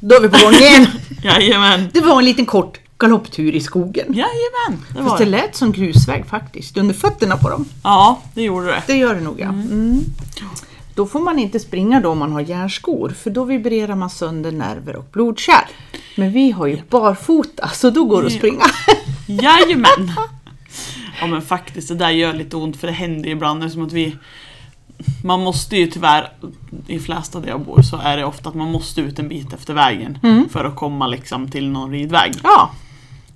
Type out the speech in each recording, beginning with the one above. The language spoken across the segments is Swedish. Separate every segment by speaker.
Speaker 1: Då är vi på gång igen!
Speaker 2: Jajamän.
Speaker 1: Det var en liten kort galopptur i skogen.
Speaker 2: Jajamän, det
Speaker 1: Fast
Speaker 2: var
Speaker 1: det
Speaker 2: det.
Speaker 1: lät som grusväg faktiskt, under fötterna på dem.
Speaker 2: Ja, det gjorde det.
Speaker 1: Det gör det nog ja. Mm. Då får man inte springa då om man har järnskor, för då vibrerar man sönder nerver och blodkärl. Men vi har ju barfota, så då går det att springa.
Speaker 2: Jajamän! Ja men faktiskt, det där gör lite ont för det händer ju ibland eftersom att vi Man måste ju tyvärr I Flästa där jag bor så är det ofta att man måste ut en bit efter vägen för att komma liksom till någon ridväg.
Speaker 1: Ja,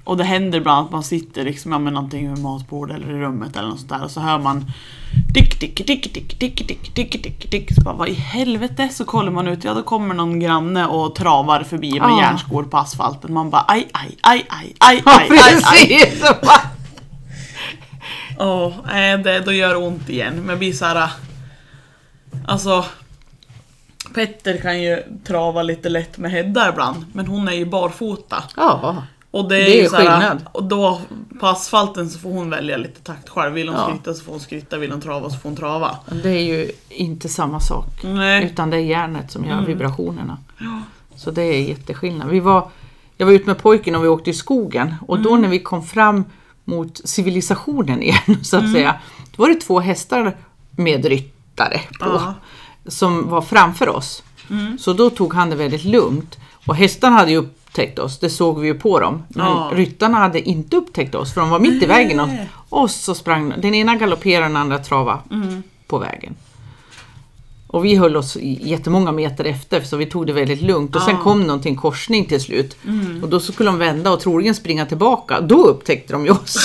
Speaker 2: Och det händer ibland att man sitter liksom, ja, men antingen vid matbordet eller i rummet eller något sånt där och så hör man Tick, tick, tick, tick, tick, tick, tick, tick, tick. Så bara, vad i helvete? Så kollar man ut, ja då kommer någon granne och travar förbi med
Speaker 1: Ja.
Speaker 2: järnskor på asfalten. Man bara aj, aj, aj, aj, aj,
Speaker 1: Ah. ja
Speaker 2: aj, aj, aj.
Speaker 1: precis!
Speaker 2: Åh, nej, det, då gör det ont igen. Men jag blir såhär... Alltså... Petter kan ju trava lite lätt med Hedda ibland, men hon är ju barfota.
Speaker 1: Ja,
Speaker 2: Och det är,
Speaker 1: Det är
Speaker 2: ju såhär,
Speaker 1: skillnad.
Speaker 2: Och då på asfalten så får hon välja lite takt själv. Vill hon
Speaker 1: Ja.
Speaker 2: skritta så får hon skritta, vill hon trava så får hon trava.
Speaker 1: det är ju inte samma sak.
Speaker 2: Nej. Mm.
Speaker 1: Utan det är järnet som gör vibrationerna. Så det är jätteskillnad. Vi var, jag var ute med pojken och vi åkte i skogen och då
Speaker 2: Mm.
Speaker 1: när vi kom fram mot civilisationen igen så att
Speaker 2: Mm.
Speaker 1: säga. Då var det två hästar med ryttare på.
Speaker 2: Ja. Mm.
Speaker 1: Som var framför oss. Så då tog han det väldigt lugnt. Och hästarna hade ju upptäckt oss, det såg vi ju på dem. Men
Speaker 2: Ja.
Speaker 1: ryttarna hade inte upptäckt oss för de var mitt i vägen. Och, och så sprang den ena galopperade och den andra travade på vägen. Och vi höll oss i- jättemånga meter efter så vi tog det väldigt lugnt och sen kom någon till en korsning till slut. Och då så skulle de vända och troligen springa tillbaka. Då upptäckte de ju oss.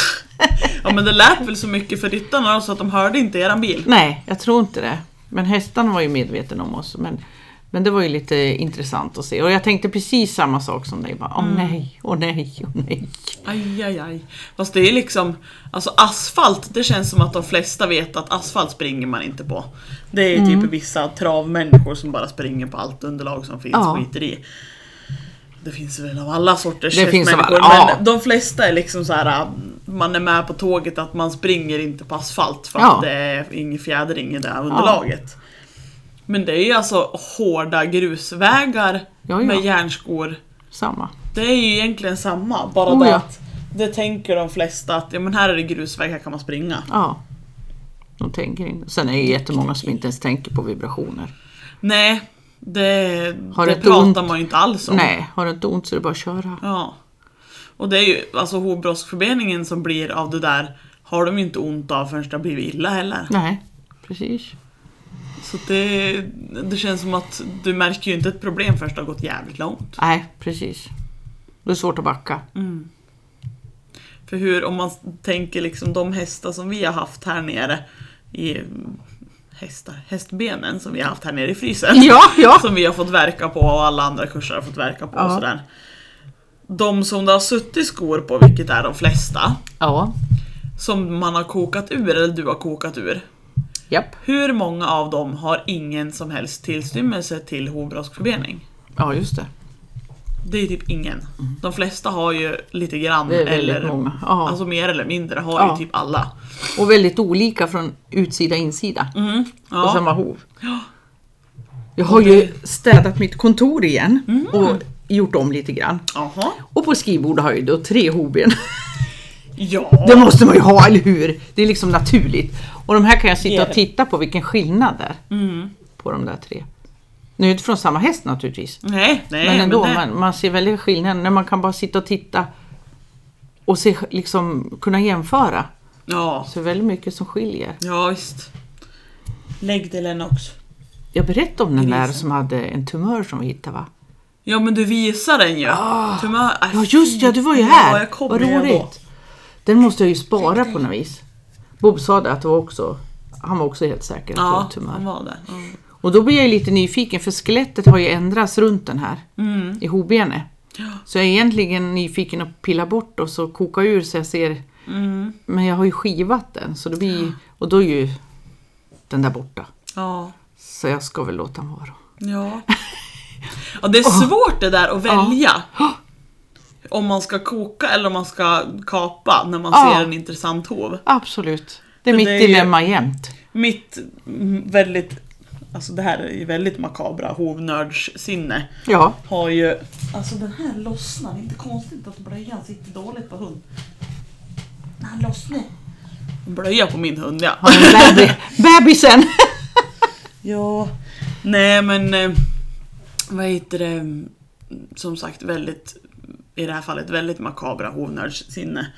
Speaker 2: Ja men det lät väl så mycket för ryttarna då, så att de hörde inte eran bil.
Speaker 1: Nej, jag tror inte det. Men hästarna var ju medvetna om oss. Men, men det var ju lite intressant att se. Och jag tänkte precis samma sak som dig. Bara, Åh nej, åh nej, åh nej.
Speaker 2: Aj, aj, aj. Fast det är liksom, alltså asfalt, det känns som att de flesta vet att asfalt springer man inte på. Det är ju
Speaker 1: Mm.
Speaker 2: typ vissa travmänniskor som bara springer på allt underlag som finns
Speaker 1: Ja.
Speaker 2: skiter i. Det finns väl av alla sorters
Speaker 1: Det finns av
Speaker 2: människor,
Speaker 1: alla, ja.
Speaker 2: men de flesta är liksom så här. man är med på tåget att man springer inte på asfalt för
Speaker 1: Ja.
Speaker 2: att det är ingen fjädring i det här underlaget. Men det är ju alltså hårda grusvägar
Speaker 1: Ja, ja.
Speaker 2: med järnskor
Speaker 1: Samma.
Speaker 2: det är ju egentligen samma, bara
Speaker 1: Oh,
Speaker 2: det
Speaker 1: ja.
Speaker 2: att det tänker de flesta att ja, men här är det grusväg, här kan man springa.
Speaker 1: Ja. De tänker inte. Sen är det ju jättemånga som inte ens tänker på vibrationer.
Speaker 2: Nej, det,
Speaker 1: Har
Speaker 2: det
Speaker 1: ett
Speaker 2: pratar
Speaker 1: ont?
Speaker 2: man ju inte alls om.
Speaker 1: Nej, har du inte ont så är det bara att köra.
Speaker 2: Ja. Och det är ju alltså hovbroskförbeningen som blir av det där har de ju inte ont av förrän det har blivit illa heller.
Speaker 1: Nej, precis.
Speaker 2: Så det, det känns som att du märker ju inte ett problem förrän det har gått jävligt långt.
Speaker 1: Nej, precis. Det är svårt att backa.
Speaker 2: För hur, om man tänker liksom de hästar som vi har haft här nere i hästar, hästbenen som vi har haft här nere i frysen.
Speaker 1: Ja, ja.
Speaker 2: Som vi har fått verka på och alla andra kurser har fått verka på och
Speaker 1: Ja.
Speaker 2: sådär. De som det har suttit skor på, vilket är de flesta,
Speaker 1: Ja.
Speaker 2: som man har kokat ur, eller du har kokat ur.
Speaker 1: Japp.
Speaker 2: Hur många av dem har ingen som helst tillstymmelse till hovbroskförbening?
Speaker 1: Ja, just det.
Speaker 2: Det är typ ingen. De flesta har ju lite grann
Speaker 1: Mm. Det är väldigt
Speaker 2: eller
Speaker 1: många. Ja.
Speaker 2: alltså mer eller mindre har
Speaker 1: Ja.
Speaker 2: ju typ alla.
Speaker 1: Och väldigt olika från utsida och insida.
Speaker 2: Ja.
Speaker 1: På samma hov. Jag har ju städat mitt kontor igen och gjort om lite grann.
Speaker 2: Jaha.
Speaker 1: Och på skrivbordet har jag ju då tre hovben.
Speaker 2: Ja.
Speaker 1: Det måste man ju ha, eller hur? Det är liksom naturligt. Och de här kan jag
Speaker 2: Det är
Speaker 1: sitta och
Speaker 2: det.
Speaker 1: titta på vilken skillnad det är
Speaker 2: Mm.
Speaker 1: på de där tre. Nu är det inte från samma häst naturligtvis.
Speaker 2: Nej, nej.
Speaker 1: Men ändå,
Speaker 2: det-
Speaker 1: man, man ser väldigt skillnad när man kan bara sitta och titta och se, liksom, kunna jämföra.
Speaker 2: Ja,
Speaker 1: Så det är väldigt mycket som skiljer.
Speaker 2: ja visst. Lägg till en också.
Speaker 1: Jag berättade om den där
Speaker 2: Grisen.
Speaker 1: som hade en tumör som vi hittade va?
Speaker 2: Ja men du visar den ju. Tumör,
Speaker 1: Ah.
Speaker 2: aj,
Speaker 1: Ja just ja, du var ju
Speaker 2: fy,
Speaker 1: här!
Speaker 2: Ah, Ja, jag kom
Speaker 1: Vad
Speaker 2: ju ändå.
Speaker 1: roligt! Den måste jag ju spara på något vis. Bob sa det att det var också, han var också helt säker att det var
Speaker 2: Ja,
Speaker 1: tumör.
Speaker 2: han var där. Mm.
Speaker 1: Och då blir jag ju lite nyfiken för skelettet har ju ändrats runt den här i hovbenet. Så jag är egentligen nyfiken att pilla bort och så koka ur så jag ser. Men jag har ju skivat den så det blir, och då är ju den där borta.
Speaker 2: Ja.
Speaker 1: Så jag ska väl låta den vara.
Speaker 2: Ja. ja, det är svårt det där att välja. Om man ska koka eller om man ska kapa när man
Speaker 1: Ja.
Speaker 2: ser en intressant hov.
Speaker 1: Absolut. Det är
Speaker 2: För
Speaker 1: mitt
Speaker 2: det är ju-
Speaker 1: dilemma jämt.
Speaker 2: Mitt mm, väldigt alltså det här är ju väldigt makabra hovnördssinne.
Speaker 1: Ja,
Speaker 2: Har ju, alltså den här lossnar, inte konstigt att blöjan sitter dåligt på hund. Den lossnar. Blöja på min hund ja.
Speaker 1: har en bebis, bebisen.
Speaker 2: Ja, nej men eh, vad heter det? Som sagt väldigt, i det här fallet väldigt makabra hovnördssinne.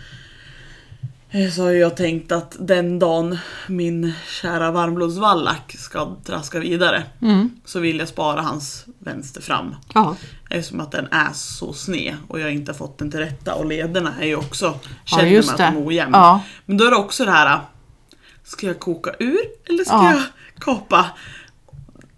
Speaker 2: Eh, Så har jag tänkt att den dagen min kära varmblodsvallack ska traska vidare
Speaker 1: Mm.
Speaker 2: så vill jag spara hans vänster fram.
Speaker 1: Ja,
Speaker 2: Eftersom att den är så sned och jag inte har fått den till rätta och lederna är ju också,
Speaker 1: Ja,
Speaker 2: känner
Speaker 1: just
Speaker 2: man att de
Speaker 1: det.
Speaker 2: är ojämn.
Speaker 1: Ja.
Speaker 2: Men då är det också det här, ska jag koka ur eller ska
Speaker 1: Ja.
Speaker 2: jag kapa?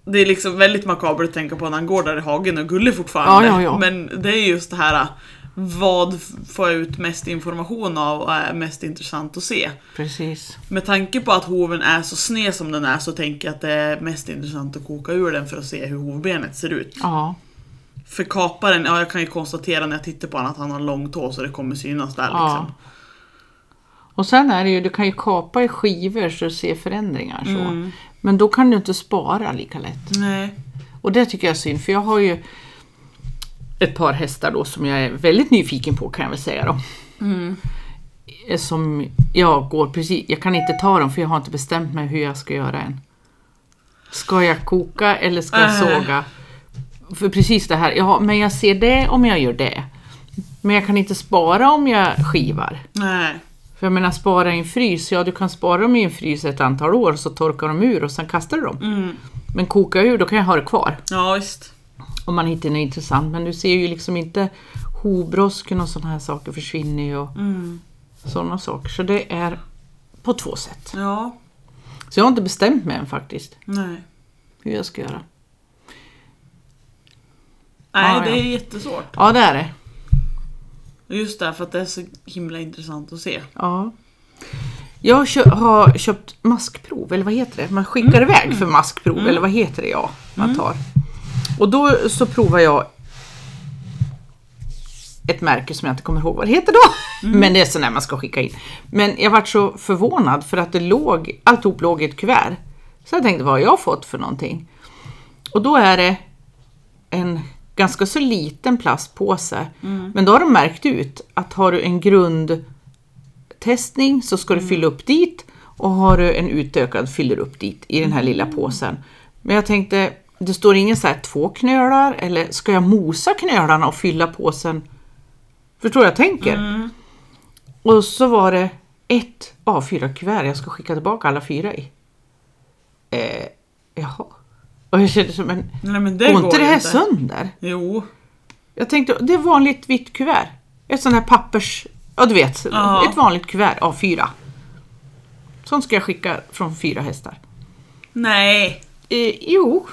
Speaker 2: Det är liksom väldigt makabert att tänka på när han går där i hagen och gullig fortfarande.
Speaker 1: Ja, ja, ja.
Speaker 2: Men det är just det här, vad f- får jag ut mest information av och är mest intressant att se?
Speaker 1: precis.
Speaker 2: Med tanke på att hoven är så sned som den är så tänker jag att det är mest intressant att koka ur den för att se hur hovbenet ser ut.
Speaker 1: Ja,
Speaker 2: För kaparen, ja jag kan ju konstatera när jag tittar på honom att han har lång tå så det kommer synas där
Speaker 1: Ja.
Speaker 2: liksom.
Speaker 1: Och sen är det ju, du kan ju kapa i skivor så du ser förändringar. Så. Men då kan du inte spara lika lätt.
Speaker 2: Nej.
Speaker 1: Och det tycker jag är synd, för jag har ju ett par hästar då som jag är väldigt nyfiken på kan jag väl säga då. Eh, Som jag går precis, jag kan inte ta dem för jag har inte bestämt mig hur jag ska göra än. Ska jag koka eller ska jag
Speaker 2: Äh.
Speaker 1: såga? För precis det här, ja men jag ser det om jag gör det. Men jag kan inte spara om jag skivar.
Speaker 2: Nej.
Speaker 1: För jag menar spara i en frys, ja du kan spara dem i en frys ett antal år så torkar de ur och sen kastar du dem. Men koka ur, då kan jag ha det kvar
Speaker 2: Ja visst.
Speaker 1: om man hittar något intressant. Men du ser ju liksom inte hobrosken och sådana här saker försvinner ju och
Speaker 2: Mm.
Speaker 1: sådana saker. Så det är på två sätt.
Speaker 2: Ja.
Speaker 1: Så jag har inte bestämt mig än faktiskt
Speaker 2: Nej.
Speaker 1: hur jag ska göra.
Speaker 2: Nej
Speaker 1: Ja,
Speaker 2: det
Speaker 1: ja.
Speaker 2: är jättesvårt.
Speaker 1: Ja, det är det.
Speaker 2: Just därför att det är så himla intressant att se.
Speaker 1: Ja. Jag kö- har köpt maskprov, eller vad heter det? Man skickar iväg för maskprov, eller vad heter det? Ja, man tar. Och då så provar jag ett märke som jag inte kommer ihåg vad det heter då. Men det är sådär man ska skicka in. Men jag vart så förvånad för att det låg, alltihop låg i ett kuvert. Så jag tänkte, vad har jag fått för någonting? Och då är det en ganska så liten plastpåse. Men då har de märkt ut att har du en grundtestning så ska du fylla upp dit och har du en utökad fyller du upp dit i den här lilla påsen. Men jag tänkte, det står ingen så här två knölar eller ska jag mosa knölarna och fylla påsen? Förstår jag tänker? Och så var det ett A4-kuvert jag ska skicka tillbaka alla fyra i. Eh, jaha. Och jag kände som en
Speaker 2: Nej men
Speaker 1: Går
Speaker 2: det går
Speaker 1: inte det
Speaker 2: ju
Speaker 1: här
Speaker 2: inte.
Speaker 1: sönder?
Speaker 2: Jo.
Speaker 1: Jag tänkte, det är vanligt vitt kuvert. Ett sånt här pappers... Ja, du vet.
Speaker 2: Ja.
Speaker 1: Ett vanligt kuvert A4. Sånt ska jag skicka från fyra hästar.
Speaker 2: Nej.
Speaker 1: Eh, jo.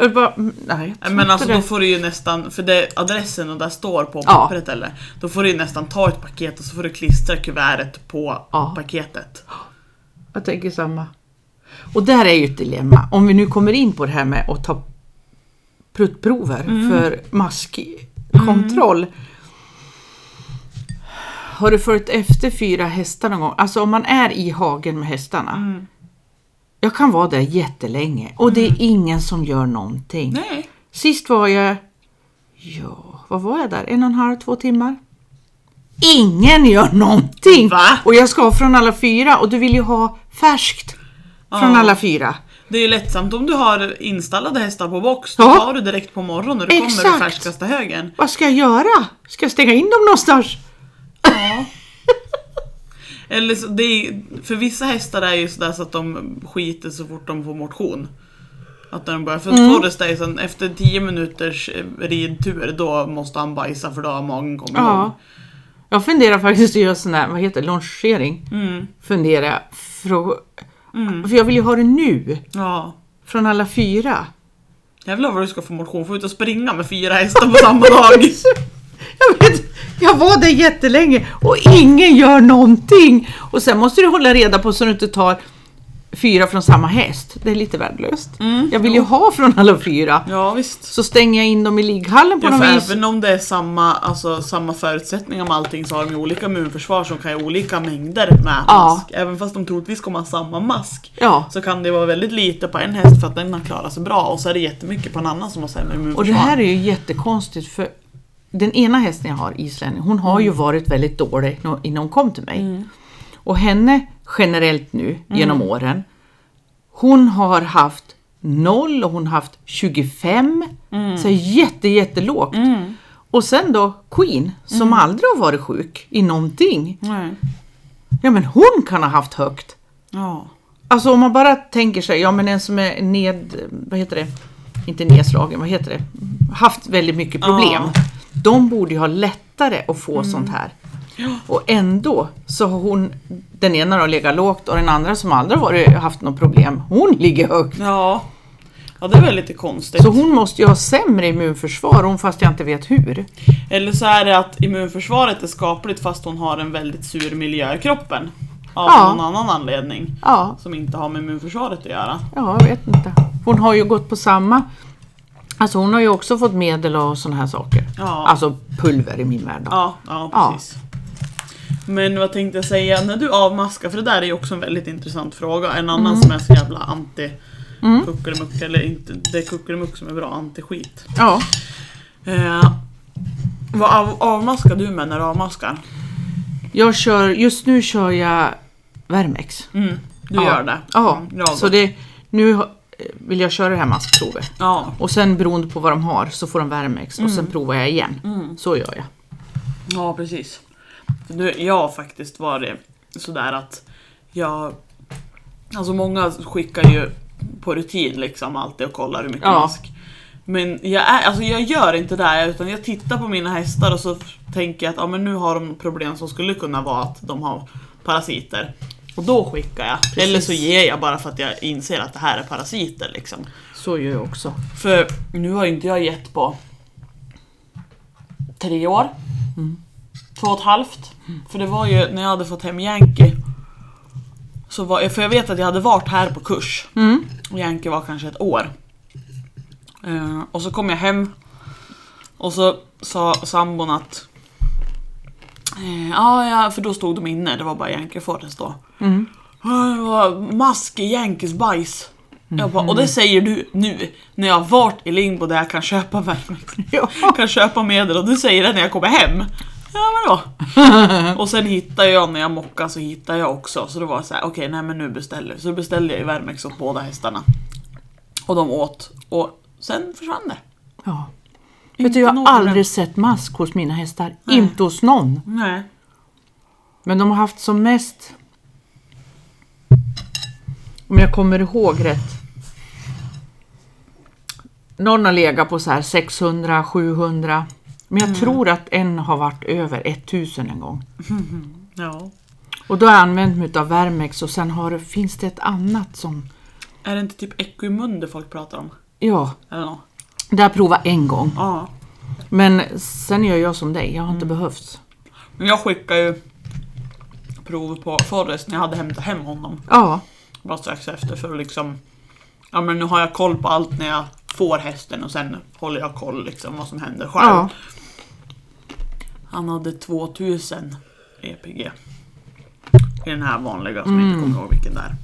Speaker 1: Jag bara, mm, nej, jag tror
Speaker 2: Men alltså
Speaker 1: inte
Speaker 2: då
Speaker 1: det.
Speaker 2: får du ju nästan, för det adressen och där står på
Speaker 1: Ja.
Speaker 2: pappret eller. Då får du ju nästan ta ett paket och så får du klistra kuvertet på
Speaker 1: Ja.
Speaker 2: paketet.
Speaker 1: Jag tänker samma. Och där är ju ett dilemma. Om vi nu kommer in på det här med att ta pruttprover för maskkontroll. Har du följt efter fyra hästar någon gång? Alltså om man är i hagen med hästarna. Jag kan vara där jättelänge och det är ingen som gör någonting.
Speaker 2: Nej.
Speaker 1: Sist var jag, ja, vad var jag där? En och en halv, två timmar? Ingen gör någonting!
Speaker 2: Va?
Speaker 1: Och jag ska ha från alla fyra och du vill ju ha färskt från
Speaker 2: Ja.
Speaker 1: alla fyra.
Speaker 2: Det är ju lättsamt om du har installade hästar på box. Då
Speaker 1: Ja.
Speaker 2: tar du direkt på morgonen och du kommer
Speaker 1: Exakt.
Speaker 2: i färskaste högen.
Speaker 1: Vad ska jag göra? Ska jag stänga in dem någonstans?
Speaker 2: Ja. Eller så, det är, för vissa hästar är ju sådär så att de skiter så fort de får motion. Att när de börjar, för Forrest är ju sån, efter 10 minuters eh, ridtur då måste han bajsa för då har magen kommit igång.
Speaker 1: Ja. Jag funderar faktiskt att göra sån här, vad heter det, longering.
Speaker 2: Mm.
Speaker 1: Fundera, för, för jag vill ju ha det nu,
Speaker 2: Ja.
Speaker 1: från alla fyra.
Speaker 2: Jävlar vad du ska få motion, få ut och springa med fyra hästar på samma dag.
Speaker 1: Jag, vet, jag var där jättelänge och ingen gör någonting. Och sen måste du hålla reda på så du inte tar fyra från samma häst, det är lite värdelöst.
Speaker 2: Mm,
Speaker 1: Jag vill ju ha från alla fyra.
Speaker 2: Ja visst.
Speaker 1: Så stänger jag in dem i ligghallen på
Speaker 2: Ja, för
Speaker 1: något vis.
Speaker 2: även om det är samma, alltså, samma förutsättningar med allting så har de ju olika immunförsvar som kan ha olika mängder med
Speaker 1: Ja.
Speaker 2: mask. Även fast de troligtvis kommer ha samma mask
Speaker 1: Ja.
Speaker 2: så kan det vara väldigt lite på en häst för att den har klarat sig bra och så är det jättemycket på en annan som har sämre immunförsvar.
Speaker 1: Och det här är ju jättekonstigt för den ena hästen jag har, islänning, hon har ju varit väldigt dålig nå- innan hon kom till mig. Och henne generellt nu genom åren, hon har haft noll och hon har haft 25. Så jätte, jättelågt. Och sen då Queen som aldrig har varit sjuk i någonting.
Speaker 2: Nej.
Speaker 1: Ja men hon kan ha haft högt.
Speaker 2: Ja.
Speaker 1: Alltså om man bara tänker sig, ja men en som är ned, vad heter det, inte nedslagen, vad heter det, haft väldigt mycket problem.
Speaker 2: Ja. Mm.
Speaker 1: De borde ju ha lättare att få sånt här. Och ändå så har hon, den ena har legat lågt och den andra som aldrig har varit- haft något problem, hon ligger högt.
Speaker 2: Ja. Ja det är väl lite konstigt.
Speaker 1: Så hon måste ju ha sämre immunförsvar, hon fast jag inte vet hur.
Speaker 2: Eller så är det att immunförsvaret är skapligt fast hon har en väldigt sur miljö i kroppen. Av
Speaker 1: Ja.
Speaker 2: någon annan anledning.
Speaker 1: Ja,
Speaker 2: Som inte har med immunförsvaret att göra.
Speaker 1: ja, jag vet inte. Hon har ju gått på samma, alltså hon har ju också fått medel och sådana här saker.
Speaker 2: Ja.
Speaker 1: Alltså pulver i min värld. då.
Speaker 2: Ja, ja
Speaker 1: Ja.
Speaker 2: precis. Men vad tänkte jag säga, när du avmaskar, för det där är ju också en väldigt intressant fråga. En annan
Speaker 1: Mm.
Speaker 2: som är så jävla anti kuckelimuck, eller inte, det är kuckelimuck som är bra, anti-skit.
Speaker 1: ja.
Speaker 2: Eh, vad av, avmaskar du med när du avmaskar?
Speaker 1: Jag kör, just nu kör jag Värmex.
Speaker 2: Mm, du
Speaker 1: Ja.
Speaker 2: gör det?
Speaker 1: Ja,
Speaker 2: Mm, jag
Speaker 1: så
Speaker 2: då.
Speaker 1: det, nu har- vill jag köra det här maskprovet.
Speaker 2: ja.
Speaker 1: Och sen beroende på vad de har så får de Värmex och
Speaker 2: Mm.
Speaker 1: sen provar jag igen. Så gör jag.
Speaker 2: Ja, precis. För nu, jag har faktiskt varit sådär att jag... Alltså många skickar ju på rutin liksom alltid och kollar hur mycket
Speaker 1: Ja.
Speaker 2: mask. Men jag, är, alltså jag gör inte det här, utan jag tittar på mina hästar och så f- tänker jag att ja, men nu har de problem som skulle kunna vara att de har parasiter. Och då skickar jag.
Speaker 1: Precis.
Speaker 2: Eller så ger jag bara för att jag inser att det här är parasiter liksom.
Speaker 1: Så gör jag också.
Speaker 2: För nu har inte jag gett på tre år. Två och ett halvt. För det var ju när jag hade fått hem Yankee. Så var, jag- för jag vet att jag hade varit här på kurs.
Speaker 1: Mm.
Speaker 2: Och Yankee var kanske ett år. Eh, och så kom jag hem. Och så sa sambon att... Eh, ja, ja, för då stod de inne. Det var bara Yankee och Fortes då.
Speaker 1: Mm.
Speaker 2: Ja, det var mask i Yankees bajs. Jag bara, och det säger du nu när jag har varit i Lingbo där jag kan köpa värmex.
Speaker 1: Ja.
Speaker 2: Kan köpa medel och du säger det när jag kommer hem. Ja vadå? och sen hittar jag när jag mockar så hittar jag också. Så det var så här, okej nej men nu beställer vi. Så då beställde jag ju värmex åt båda hästarna. Och de åt. Och sen försvann det.
Speaker 1: Ja.
Speaker 2: Inte
Speaker 1: Vet du, jag
Speaker 2: någon
Speaker 1: har aldrig sett mask hos mina hästar. Inte hos någon.
Speaker 2: Nej.
Speaker 1: Men de har haft som mest, om jag kommer ihåg rätt, någon har legat på så här 600, 700. Men jag tror att en har varit över 1000 en gång.
Speaker 2: Ja.
Speaker 1: Och då har jag använt mig av Värmex och sen har, det- finns det ett annat som...
Speaker 2: Är det inte typ equimunder folk pratar om?
Speaker 1: Ja,
Speaker 2: Eller nåt?
Speaker 1: det har jag provat en gång.
Speaker 2: Ja.
Speaker 1: Men sen gör jag som dig, jag har inte behövt.
Speaker 2: Men jag skickade ju prov på Forrest när jag hade hämtat hem honom.
Speaker 1: Ja,
Speaker 2: Bara strax efter för att liksom Ja men nu har jag koll på allt när jag får hästen och sen håller jag koll liksom vad som händer själv.
Speaker 1: ja.
Speaker 2: Han hade E 2000 EPG. I den här vanliga som jag inte kommer ihåg vilken det är.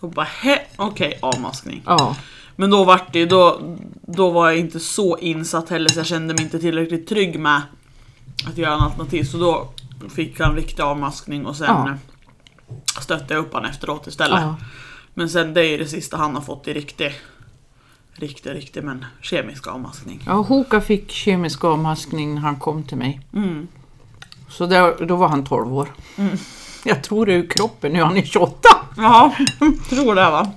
Speaker 2: Då bara he, okej avmaskning.
Speaker 1: ja.
Speaker 2: Men då vart det ju- då, då var jag inte så insatt heller så jag kände mig inte tillräckligt trygg med att göra en alternativ. Så då fick han riktig avmaskning och sen
Speaker 1: Ja.
Speaker 2: ja. stötte jag upp han efteråt istället.
Speaker 1: ja.
Speaker 2: Men sen det är ju det sista han har fått i riktig, riktig, riktig men kemisk avmaskning.
Speaker 1: Ja, Hoka fick kemisk avmaskning när han kom till mig.
Speaker 2: Mm.
Speaker 1: Så där, då var han 12 år. Jag tror det är ur kroppen, nu är han är 28!
Speaker 2: Ja, tror det va?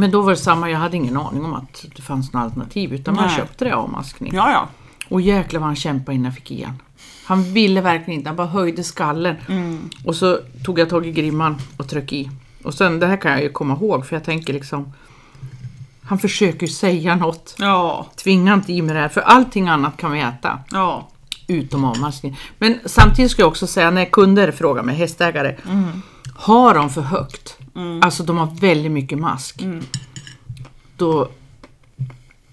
Speaker 1: Men då var det samma, jag hade ingen aning om att det fanns något alternativ utan man
Speaker 2: Nej.
Speaker 1: köpte det avmaskning.
Speaker 2: Ja, ja.
Speaker 1: Och jäklar vad han kämpade innan jag fick igen. Han ville verkligen inte, han bara höjde skallen.
Speaker 2: Mm.
Speaker 1: Och så tog jag tag i grimman och tryckte i. Och sen, det här kan jag ju komma ihåg för jag tänker liksom Han försöker ju säga något.
Speaker 2: Ja,
Speaker 1: Tvinga inte i mig det här, för allting annat kan vi äta.
Speaker 2: ja.
Speaker 1: utom avmaskning. Men samtidigt ska jag också säga när kunder frågar mig, hästägare, har de för högt? Alltså de har väldigt mycket mask. Då,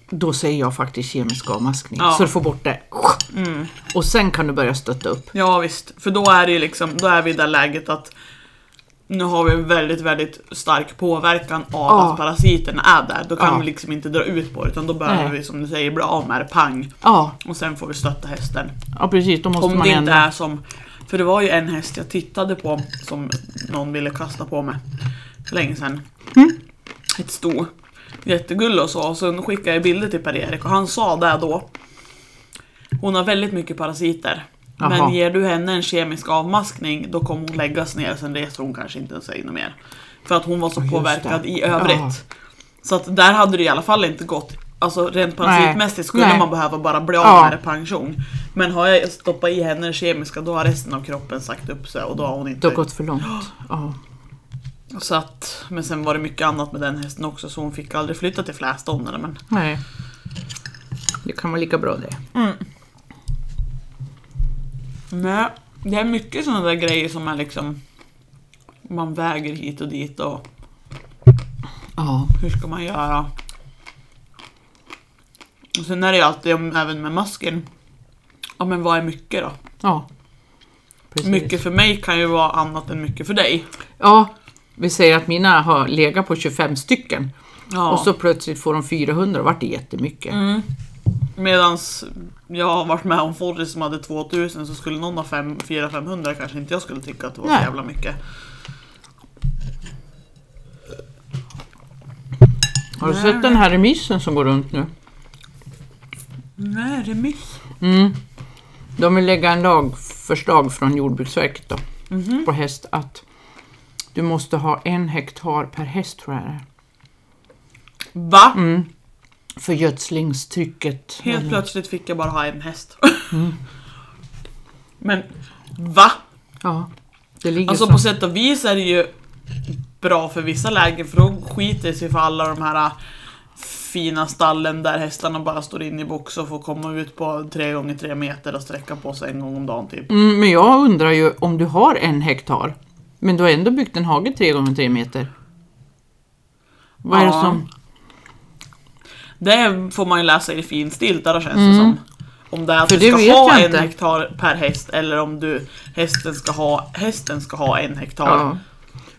Speaker 1: då säger jag faktiskt kemisk avmaskning.
Speaker 2: Ja.
Speaker 1: Så du får bort det. Och sen kan du börja stötta upp.
Speaker 2: Ja visst, för då är det ju liksom, då är vi i det läget att nu har vi en väldigt, väldigt stark påverkan av
Speaker 1: Ja.
Speaker 2: att parasiterna är där. Då kan
Speaker 1: Ja.
Speaker 2: vi liksom inte dra ut på det utan då behöver
Speaker 1: Nej.
Speaker 2: vi som du säger bli av med det, pang.
Speaker 1: Ja,
Speaker 2: Och sen får vi stötta hästen.
Speaker 1: ja precis. Då måste
Speaker 2: Om
Speaker 1: man
Speaker 2: det inte
Speaker 1: ändra.
Speaker 2: är som... För det var ju en häst jag tittade på som någon ville kasta på mig för länge sedan.
Speaker 1: Mm.
Speaker 2: Ett sto. Jättegullig och så. Och sen skickade jag bilder till Per-Erik och han sa det då. Hon har väldigt mycket parasiter.
Speaker 1: Jaha.
Speaker 2: Men ger du henne en kemisk avmaskning då kommer hon läggas ner. Sen reser hon kanske inte sig något mer. För att hon var så
Speaker 1: just
Speaker 2: påverkad
Speaker 1: det.
Speaker 2: i övrigt.
Speaker 1: Ja.
Speaker 2: Så att där hade det i alla fall inte gått. Alltså rent parasitmässigt skulle
Speaker 1: Nej.
Speaker 2: man behöva bara bli av
Speaker 1: Ja.
Speaker 2: med det pension. Men har jag stoppat i henne det kemiska då har resten av kroppen sagt upp sig och då har hon
Speaker 1: Det
Speaker 2: inte...
Speaker 1: har gått för långt. Ja.
Speaker 2: Så att, men sen var det mycket annat med den hästen också så hon fick aldrig flytta till Flästånden. Men...
Speaker 1: Nej. Det kan vara lika bra det.
Speaker 2: Nej, det är mycket sådana där grejer som är liksom... Man väger hit och dit och
Speaker 1: Ja.
Speaker 2: hur ska man göra? Och sen är det ju alltid, om- även med masken. Ja men vad är mycket då?
Speaker 1: ja. Precis.
Speaker 2: Mycket för mig kan ju vara annat än mycket för dig.
Speaker 1: Ja, vi säger att mina har legat på 25 stycken
Speaker 2: Ja. Mm.
Speaker 1: och så plötsligt får de 400 och vart det jättemycket.
Speaker 2: Medan jag har varit med om Forris som hade 2000 så skulle någon ha fem- 400-500 kanske inte jag skulle tycka att det var
Speaker 1: Nej.
Speaker 2: så jävla mycket.
Speaker 1: Har du sett den här remissen som går runt nu?
Speaker 2: Nej, remiss.
Speaker 1: De vill lägga en lagförslag från Jordbruksverket då,
Speaker 2: Mhm.
Speaker 1: på häst att du måste ha en hektar per häst tror jag det är.
Speaker 2: Va?
Speaker 1: Mm. För gödslingstrycket.
Speaker 2: Helt plötsligt fick jag bara ha en häst.
Speaker 1: Mm.
Speaker 2: Men va?
Speaker 1: Ja, det ligger
Speaker 2: Alltså
Speaker 1: så.
Speaker 2: på sätt och vis är det ju bra för vissa lägen för då skiter det sig för alla de här äh, fina stallen där hästarna bara står inne i box och får komma ut på 3 gånger 3 meter och sträcka på sig en gång om dagen typ.
Speaker 1: Mm, men jag undrar ju om du har en hektar, men du har ändå byggt en hage tre gånger tre meter. Vad är det
Speaker 2: Ja.
Speaker 1: som...
Speaker 2: Det får man ju läsa i finstilt där känns det som. Om det är att
Speaker 1: Mm. För det
Speaker 2: du ska
Speaker 1: vet
Speaker 2: ha
Speaker 1: jag
Speaker 2: en
Speaker 1: inte.
Speaker 2: hektar per häst eller om du hästen ska ha, hästen ska ha en hektar.
Speaker 1: Ja.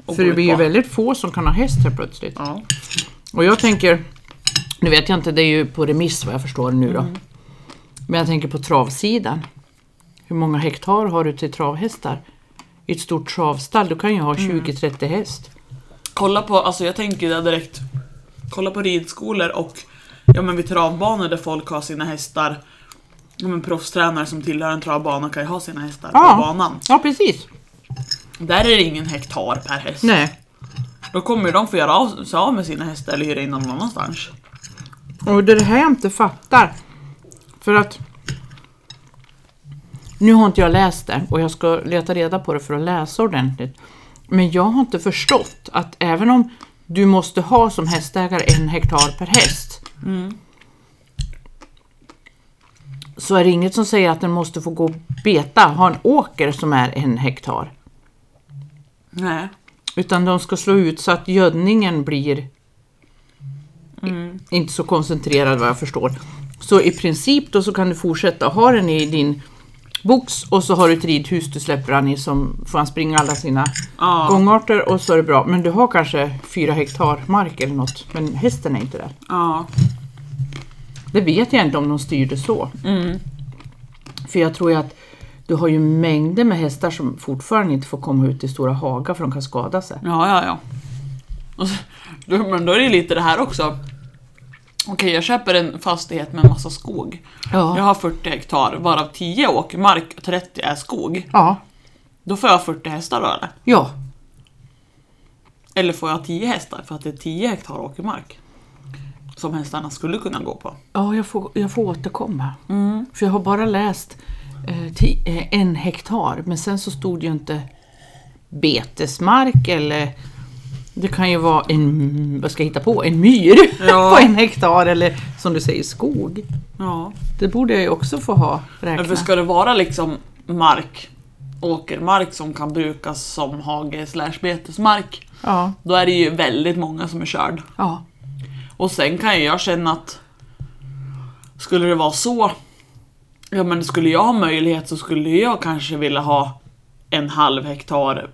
Speaker 2: och
Speaker 1: För
Speaker 2: gå
Speaker 1: det
Speaker 2: ut
Speaker 1: blir ju
Speaker 2: på.
Speaker 1: väldigt få som kan ha häst här plötsligt.
Speaker 2: Ja.
Speaker 1: Och jag tänker, nu vet jag inte, det är ju på remiss vad jag förstår nu då. Men jag tänker på travsidan. Hur många hektar har du till travhästar? I ett stort travstall, du kan ju ha 20-30 häst.
Speaker 2: Kolla på, alltså jag tänker ju där direkt. Kolla på ridskolor och ja men vid travbanor där folk har sina hästar. Ja men proffstränare som tillhör en travbana kan ju ha sina hästar
Speaker 1: Ja.
Speaker 2: på banan.
Speaker 1: Ja, precis.
Speaker 2: Där är det ingen hektar per häst.
Speaker 1: Nej.
Speaker 2: Då kommer ju de få göra av, sig av med sina hästar eller hyra in dem någon annanstans.
Speaker 1: Och det är det här jag inte fattar. För att... Nu har inte jag läst det och jag ska leta reda på det för att läsa ordentligt. Men jag har inte förstått att även om du måste ha som hästägare en hektar per häst. Så är det inget som säger att den måste få gå och beta, ha en åker som är en hektar.
Speaker 2: Nej.
Speaker 1: Utan de ska slå ut så att gödningen blir i- inte så koncentrerad vad jag förstår. Så i princip då så kan du fortsätta ha den i din box och så har du ett ridhus du släpper han i som får han springa alla sina
Speaker 2: Ja.
Speaker 1: gångarter och så är det bra. Men du har kanske fyra hektar mark eller något men hästen är inte där.
Speaker 2: Ja.
Speaker 1: Det vet jag inte om de styr det så. För jag tror ju att du har ju mängder med hästar som fortfarande inte får komma ut i stora hagar för de kan skada sig.
Speaker 2: Ja, ja, ja. Och så- då- Men då är det ju lite det här också. Okej, jag köper en fastighet med en massa skog. Jag har 40 hektar, varav 10 är åkermark och 30 är skog.
Speaker 1: ja.
Speaker 2: Då får jag 40 hästar då eller?
Speaker 1: ja.
Speaker 2: Eller får jag 10 hästar för att det är 10 hektar åkermark? Som hästarna skulle kunna gå på.
Speaker 1: Ja, jag får, jag får återkomma. För jag har bara läst eh, ti, eh, en hektar, men sen så stod det ju inte betesmark eller det kan ju vara en, vad ska jag hitta på, en myr
Speaker 2: Ja.
Speaker 1: på en hektar eller som du säger skog.
Speaker 2: Ja.
Speaker 1: Det borde jag ju också få ha
Speaker 2: Men för
Speaker 1: räknat.
Speaker 2: ska det vara liksom mark, åkermark som kan brukas som hage slash betesmark,
Speaker 1: Ja.
Speaker 2: Då är det ju väldigt många som är körd.
Speaker 1: ja.
Speaker 2: Och sen kan ju jag känna att skulle det vara så, ja men skulle jag ha möjlighet så skulle jag kanske vilja ha en halv hektar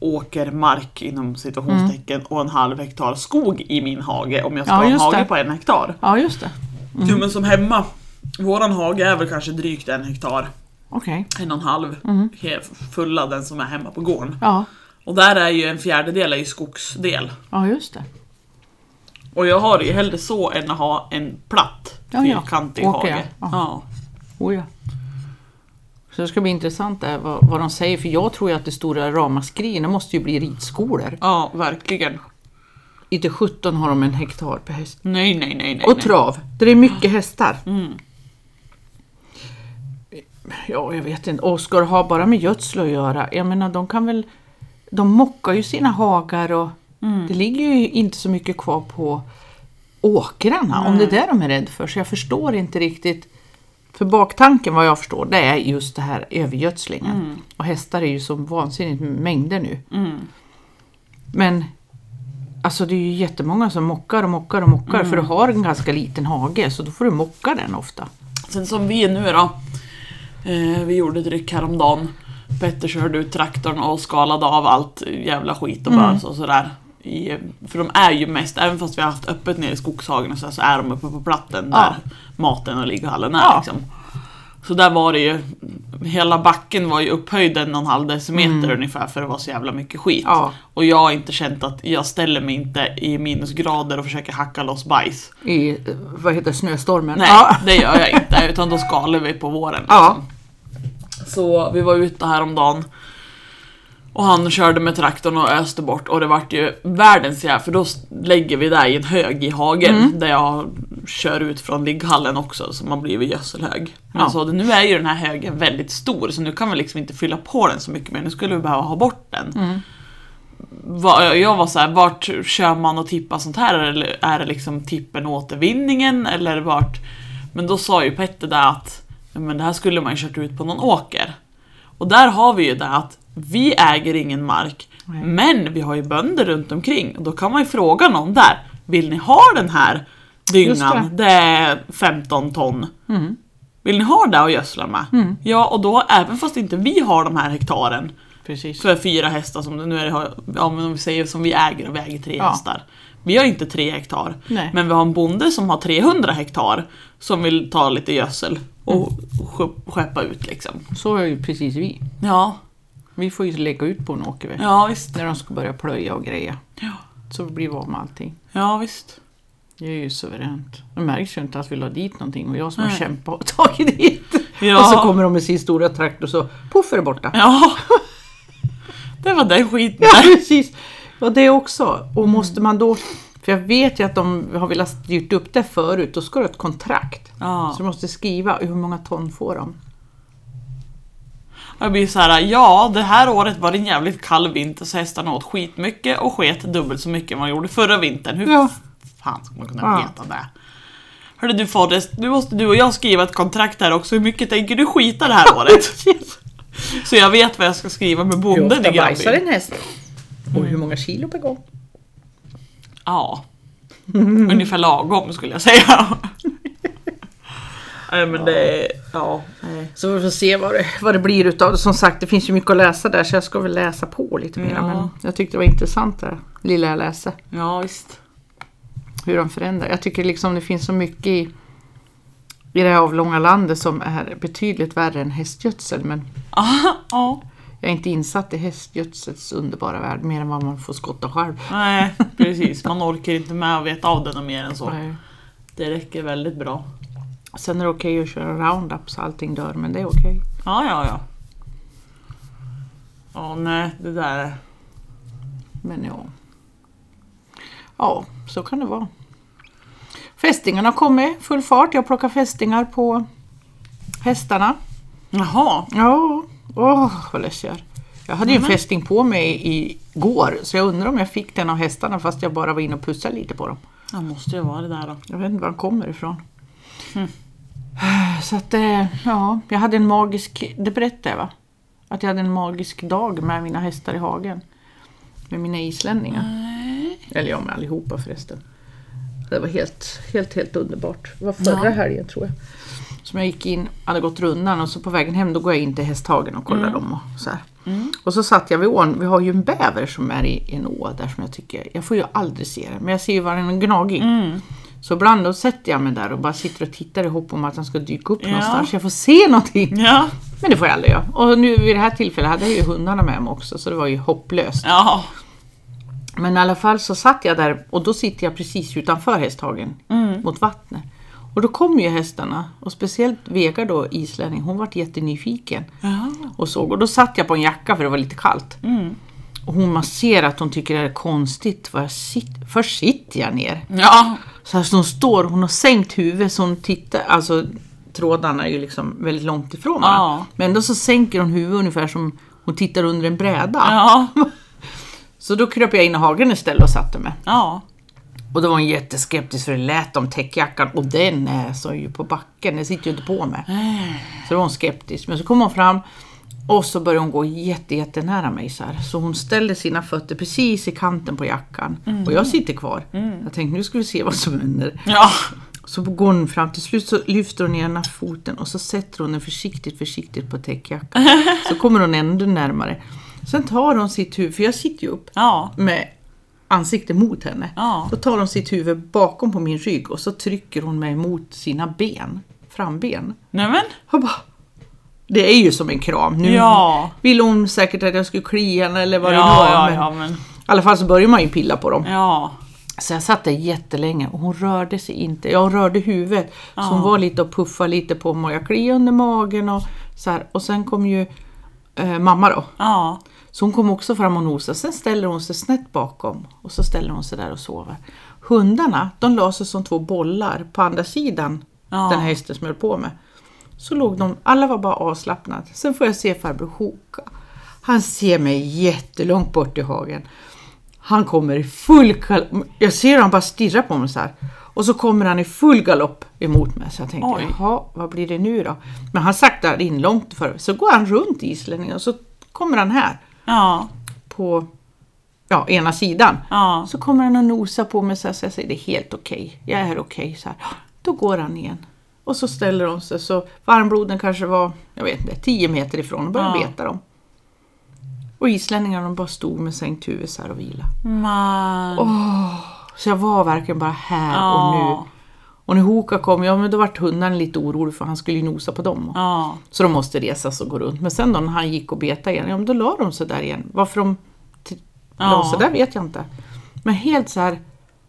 Speaker 2: åkermark inom situationstecken och en halv hektar skog i min hage om jag ska
Speaker 1: Mm. Ja,
Speaker 2: ha en
Speaker 1: just
Speaker 2: hage
Speaker 1: det. Mm.
Speaker 2: på en hektar.
Speaker 1: Ja, just det.
Speaker 2: Jo men som hemma, våran hage är väl kanske drygt en hektar,
Speaker 1: Okej.
Speaker 2: en och en halv,
Speaker 1: Mm.
Speaker 2: he- fulla den som är hemma på gården.
Speaker 1: Ja.
Speaker 2: Och där är ju en fjärdedel är ju skogsdel.
Speaker 1: ja, just det.
Speaker 2: Och jag har ju hellre så än att ha en platt
Speaker 1: Ja, ja.
Speaker 2: fyrkantig
Speaker 1: Åker,
Speaker 2: hage.
Speaker 1: ja.
Speaker 2: Ja.
Speaker 1: Oh, ja. Så det ska bli intressant där, vad, vad de säger, för jag tror ju att det stora ramaskrina måste ju bli ridskolor.
Speaker 2: ja, verkligen.
Speaker 1: Inte 17 har de en hektar per häst.
Speaker 2: Nej, nej, nej. nej Mm.
Speaker 1: Och
Speaker 2: nej.
Speaker 1: trav, där det är mycket hästar. Ja, jag vet inte. Och ska det ha bara med gödsel att göra? Jag menar, de kan väl... De mockar ju sina hagar och
Speaker 2: Mm.
Speaker 1: det ligger ju inte så mycket kvar på åkrarna, om det är det de är rädda för. Så jag förstår inte riktigt. För baktanken, vad jag förstår, det är just det här övergödslingen.
Speaker 2: Mm.
Speaker 1: Och hästar är ju så vansinnigt mängder nu. Men Alltså det är ju jättemånga som mockar och mockar och mockar för du har en ganska liten hage så då får du mocka den ofta.
Speaker 2: Sen som vi är nu då. Eh, vi gjorde ett ryck häromdagen. Petter körde ut traktorn och skalade av allt jävla skit och
Speaker 1: Mm.
Speaker 2: bös och sådär. I, för de är ju mest, även fast vi har haft öppet nere i skogshagen och så, här, så är de uppe på platten
Speaker 1: Ja.
Speaker 2: där maten och ligghallen är.
Speaker 1: Ja.
Speaker 2: Liksom. Så där var det ju, hela backen var ju upphöjd en och en halv decimeter ungefär för det var så jävla mycket skit.
Speaker 1: Mm. Ja.
Speaker 2: Och jag har inte känt att jag ställer mig inte i minusgrader och försöker hacka loss bajs.
Speaker 1: I, eh, vad heter det, snöstormen?
Speaker 2: Nej,
Speaker 1: Ja.
Speaker 2: det gör jag inte. Utan då skalar vi på våren.
Speaker 1: Ja.
Speaker 2: Så vi var ute häromdagen och han körde med traktorn och öste bort och det vart ju världens jävla... För då s- lägger vi det i en hög i hagen där jag kör ut från ligghallen också som har blivit gödselhög. Men
Speaker 1: Ja.
Speaker 2: så det- nu är ju den här högen väldigt stor så nu kan vi liksom inte fylla på den så mycket mer. Nu skulle vi behöva ha bort den. Va- Jag var så här, vart kör man och tippar sånt här? Eller är det liksom tippen och återvinningen? Eller vart? Men då sa ju Petter där att "Ja, men det här skulle man ju kört ut på någon åker. Och där har vi ju det att vi äger ingen mark,
Speaker 1: Nej.
Speaker 2: men vi har ju bönder runt omkring. Och då kan man ju fråga någon där, vill ni ha den här dyngan? Det. är 15 ton.
Speaker 1: Mm.
Speaker 2: Vill ni ha det att gödsla med? Ja, och då även fast inte vi har de här hektaren
Speaker 1: Precis.
Speaker 2: för fyra hästar som det nu är, det- ja, men om vi säger som vi äger och vi äger tre
Speaker 1: Ja.
Speaker 2: hästar. Vi har inte tre hektar,
Speaker 1: Nej.
Speaker 2: men vi har en bonde som har 300 hektar som vill ta lite gödsel och ske- skeppa ut liksom.
Speaker 1: Så är ju precis vi.
Speaker 2: Ja,
Speaker 1: Vi får ju lägga ut på en åker vi.
Speaker 2: ja visst.
Speaker 1: När de ska börja plöja och greja.
Speaker 2: Ja.
Speaker 1: Så blir vi av med allting.
Speaker 2: Ja, visst.
Speaker 1: Det är ju suveränt. Det märks ju inte att vi la dit någonting och jag som
Speaker 2: Nej.
Speaker 1: har kämpat och tagit dit.
Speaker 2: Ja.
Speaker 1: Och så kommer de med sin stora traktor och så poff är det borta.
Speaker 2: Ja. Det var den skiten.
Speaker 1: Ja, precis. Och det också. Och måste man då... För jag vet ju att de har velat styrt upp det förut, då ska du ha ett kontrakt.
Speaker 2: Ja.
Speaker 1: Så du måste skriva hur många ton får de.
Speaker 2: Jag blir så här, ja det här året var det en jävligt kall vinter så hästarna åt skitmycket och sket dubbelt så mycket än vad de gjorde förra vintern. Hur
Speaker 1: Ja.
Speaker 2: fan ska man kunna
Speaker 1: Ja.
Speaker 2: veta det? Hörru du Forrest, nu måste du och jag skriva ett kontrakt här också. Hur mycket tänker du skita det här året? Så jag vet vad jag ska skriva med bonden i grannbyn.
Speaker 1: en häst? Och hur många kilo per gång?
Speaker 2: Ja. Ungefär lagom skulle jag säga. Nej men det, ja. nej.
Speaker 1: Så vi får se vad det, vad det blir utav det. Som sagt, det finns ju mycket att läsa där så jag ska väl läsa på lite mer.
Speaker 2: Ja.
Speaker 1: Men jag tyckte det var intressant det lilla jag läste.
Speaker 2: Ja visst.
Speaker 1: hur de förändrar. Jag tycker liksom det finns så mycket i, i det här avlånga landet som är betydligt värre än hästgödsel. Men
Speaker 2: Ja.
Speaker 1: jag är inte insatt i hästgödsels underbara värld mer än vad man får skotta själv.
Speaker 2: Nej precis, man orkar inte med att veta av den och mer än så.
Speaker 1: Nej.
Speaker 2: Det räcker väldigt bra.
Speaker 1: Sen är det okej att köra roundup så allting dör, men det är okej.
Speaker 2: Ja, ja, ja. Ja, nej, det där.
Speaker 1: Men ja. Ja, så kan det vara. Fästingarna har kommit full fart. Jag plockar fästingar på hästarna.
Speaker 2: Jaha.
Speaker 1: Ja, åh vad less jag är. Jag hade ju en fästing på mig igår så jag undrar om jag fick den av hästarna fast jag bara var inne och pussade lite på dem.
Speaker 2: Det måste ju vara det där då.
Speaker 1: Jag vet inte var de kommer ifrån. Så att, eh, ja, jag hade en magisk, det berättade jag va? Att jag hade en magisk dag med mina hästar i hagen. med mina islänningar.
Speaker 2: Nej.
Speaker 1: Eller jag med allihopa förresten. Det var helt, helt, helt underbart. Det var förra
Speaker 2: Ja.
Speaker 1: helgen tror jag. Som jag gick in, hade gått rundan och så på vägen hem då går jag in till hästhagen och
Speaker 2: Mm.
Speaker 1: kollar dem. Och så, här. och så satt jag vid ån. Vi har ju en bäver som är i en å där som jag tycker, jag får ju aldrig se den, men jag ser ju var den är gnagig.
Speaker 2: Mm.
Speaker 1: Så ibland då sätter jag mig där och bara sitter och tittar i hopp om att den ska dyka upp
Speaker 2: Ja.
Speaker 1: någonstans. Jag får se någonting.
Speaker 2: Ja.
Speaker 1: Men det får jag aldrig göra. Och nu vid det här tillfället hade jag ju hundarna med mig också så det var ju hopplöst.
Speaker 2: Ja.
Speaker 1: Men i alla fall så satt jag där och då sitter jag precis utanför hästhagen
Speaker 2: Mm.
Speaker 1: mot vattnet. Och då kom ju hästarna och speciellt Vega då, islänning, hon vart jättenyfiken
Speaker 2: Ja.
Speaker 1: och såg. Och då satt jag på en jacka för det var lite kallt.
Speaker 2: Mm.
Speaker 1: Och hon man ser att hon tycker det är konstigt. Var jag sit- Först sitter jag ner.
Speaker 2: Ja.
Speaker 1: Så här som hon står, hon har sänkt huvudet så hon tittar, alltså trådarna är ju liksom väldigt långt ifrån varandra.
Speaker 2: Ja.
Speaker 1: Men ändå så sänker hon huvudet ungefär som hon tittar under en bräda.
Speaker 2: Ja.
Speaker 1: Så då kröp jag in i hagen istället och satte mig.
Speaker 2: Ja.
Speaker 1: Och då var hon jätteskeptisk för det lät om täckjackan och den är så ju på backen, den sitter ju inte på mig. Så då var hon skeptisk. Men så kom hon fram och så började hon gå jätte, jättenära mig så här. Så hon ställde sina fötter precis i kanten på jackan och jag sitter kvar. Jag tänkte nu ska vi se vad som händer.
Speaker 2: Ja.
Speaker 1: Så går hon fram, till slut så lyfter hon ena foten och så sätter hon den försiktigt, försiktigt på täckjackan. Så kommer hon ändå närmare. Sen tar hon sitt huvud, för jag sitter ju upp
Speaker 2: Ja.
Speaker 1: med ansiktet mot henne.
Speaker 2: Ja.
Speaker 1: Då tar hon sitt huvud bakom på min rygg och så trycker hon mig mot sina ben, framben.
Speaker 2: Nämen.
Speaker 1: Jag bara, det är ju som en kram. Nu
Speaker 2: Ja.
Speaker 1: ville hon säkert att jag skulle klia henne eller vad det
Speaker 2: Ja,
Speaker 1: var.
Speaker 2: ja,
Speaker 1: men
Speaker 2: ja, men.
Speaker 1: I alla fall så börjar man ju pilla på dem.
Speaker 2: Ja.
Speaker 1: Så jag satt där jättelänge och hon rörde sig inte. Jag rörde huvudet. Så hon var lite och puffade lite på mig och jag kliade under magen och så här. Och sen kom ju eh, mamma då.
Speaker 2: Ja.
Speaker 1: Så hon kom också fram och nosade. Sen ställer hon sig snett bakom och så ställer hon sig där och sover. Hundarna, de la sig som två bollar på andra sidan
Speaker 2: Ja.
Speaker 1: den här hästen som jag höll på med. Så låg de, alla var bara avslappnade. Sen får jag se farbror Hoka. Han ser mig jättelångt bort i hagen. Han kommer i full galopp. Jag ser hur han bara stirrar på mig så här. Och så kommer han i full galopp emot mig. Så jag tänkte,
Speaker 2: Oj.
Speaker 1: jaha, vad blir det nu då? Men han saktar in långt för Så går han runt islänningen och så kommer han här
Speaker 2: Ja.
Speaker 1: på ja, ena sidan.
Speaker 2: Ja.
Speaker 1: Så kommer han och nosar på mig så, här, så jag säger det är helt okej, jag är okej. så här. Då går han igen. Och så ställer de sig, så varmbloden kanske var, jag vet inte, 10 meter ifrån och börjar
Speaker 2: Ja.
Speaker 1: beta dem. Och islänningarna de bara stod med sänkt huvud så här och vila.
Speaker 2: Man.
Speaker 1: Så jag var verkligen bara här och
Speaker 2: Ja.
Speaker 1: nu. Och när Hoka kom, ja men då vart hunden lite orolig för han skulle ju nosa på dem.
Speaker 2: Ja.
Speaker 1: Så de måste resa och gå runt. Men sen då när han gick och betade igen, ja men då la de sig där igen. Varför de t- la
Speaker 2: Ja.
Speaker 1: sig där vet jag inte. Men helt så här,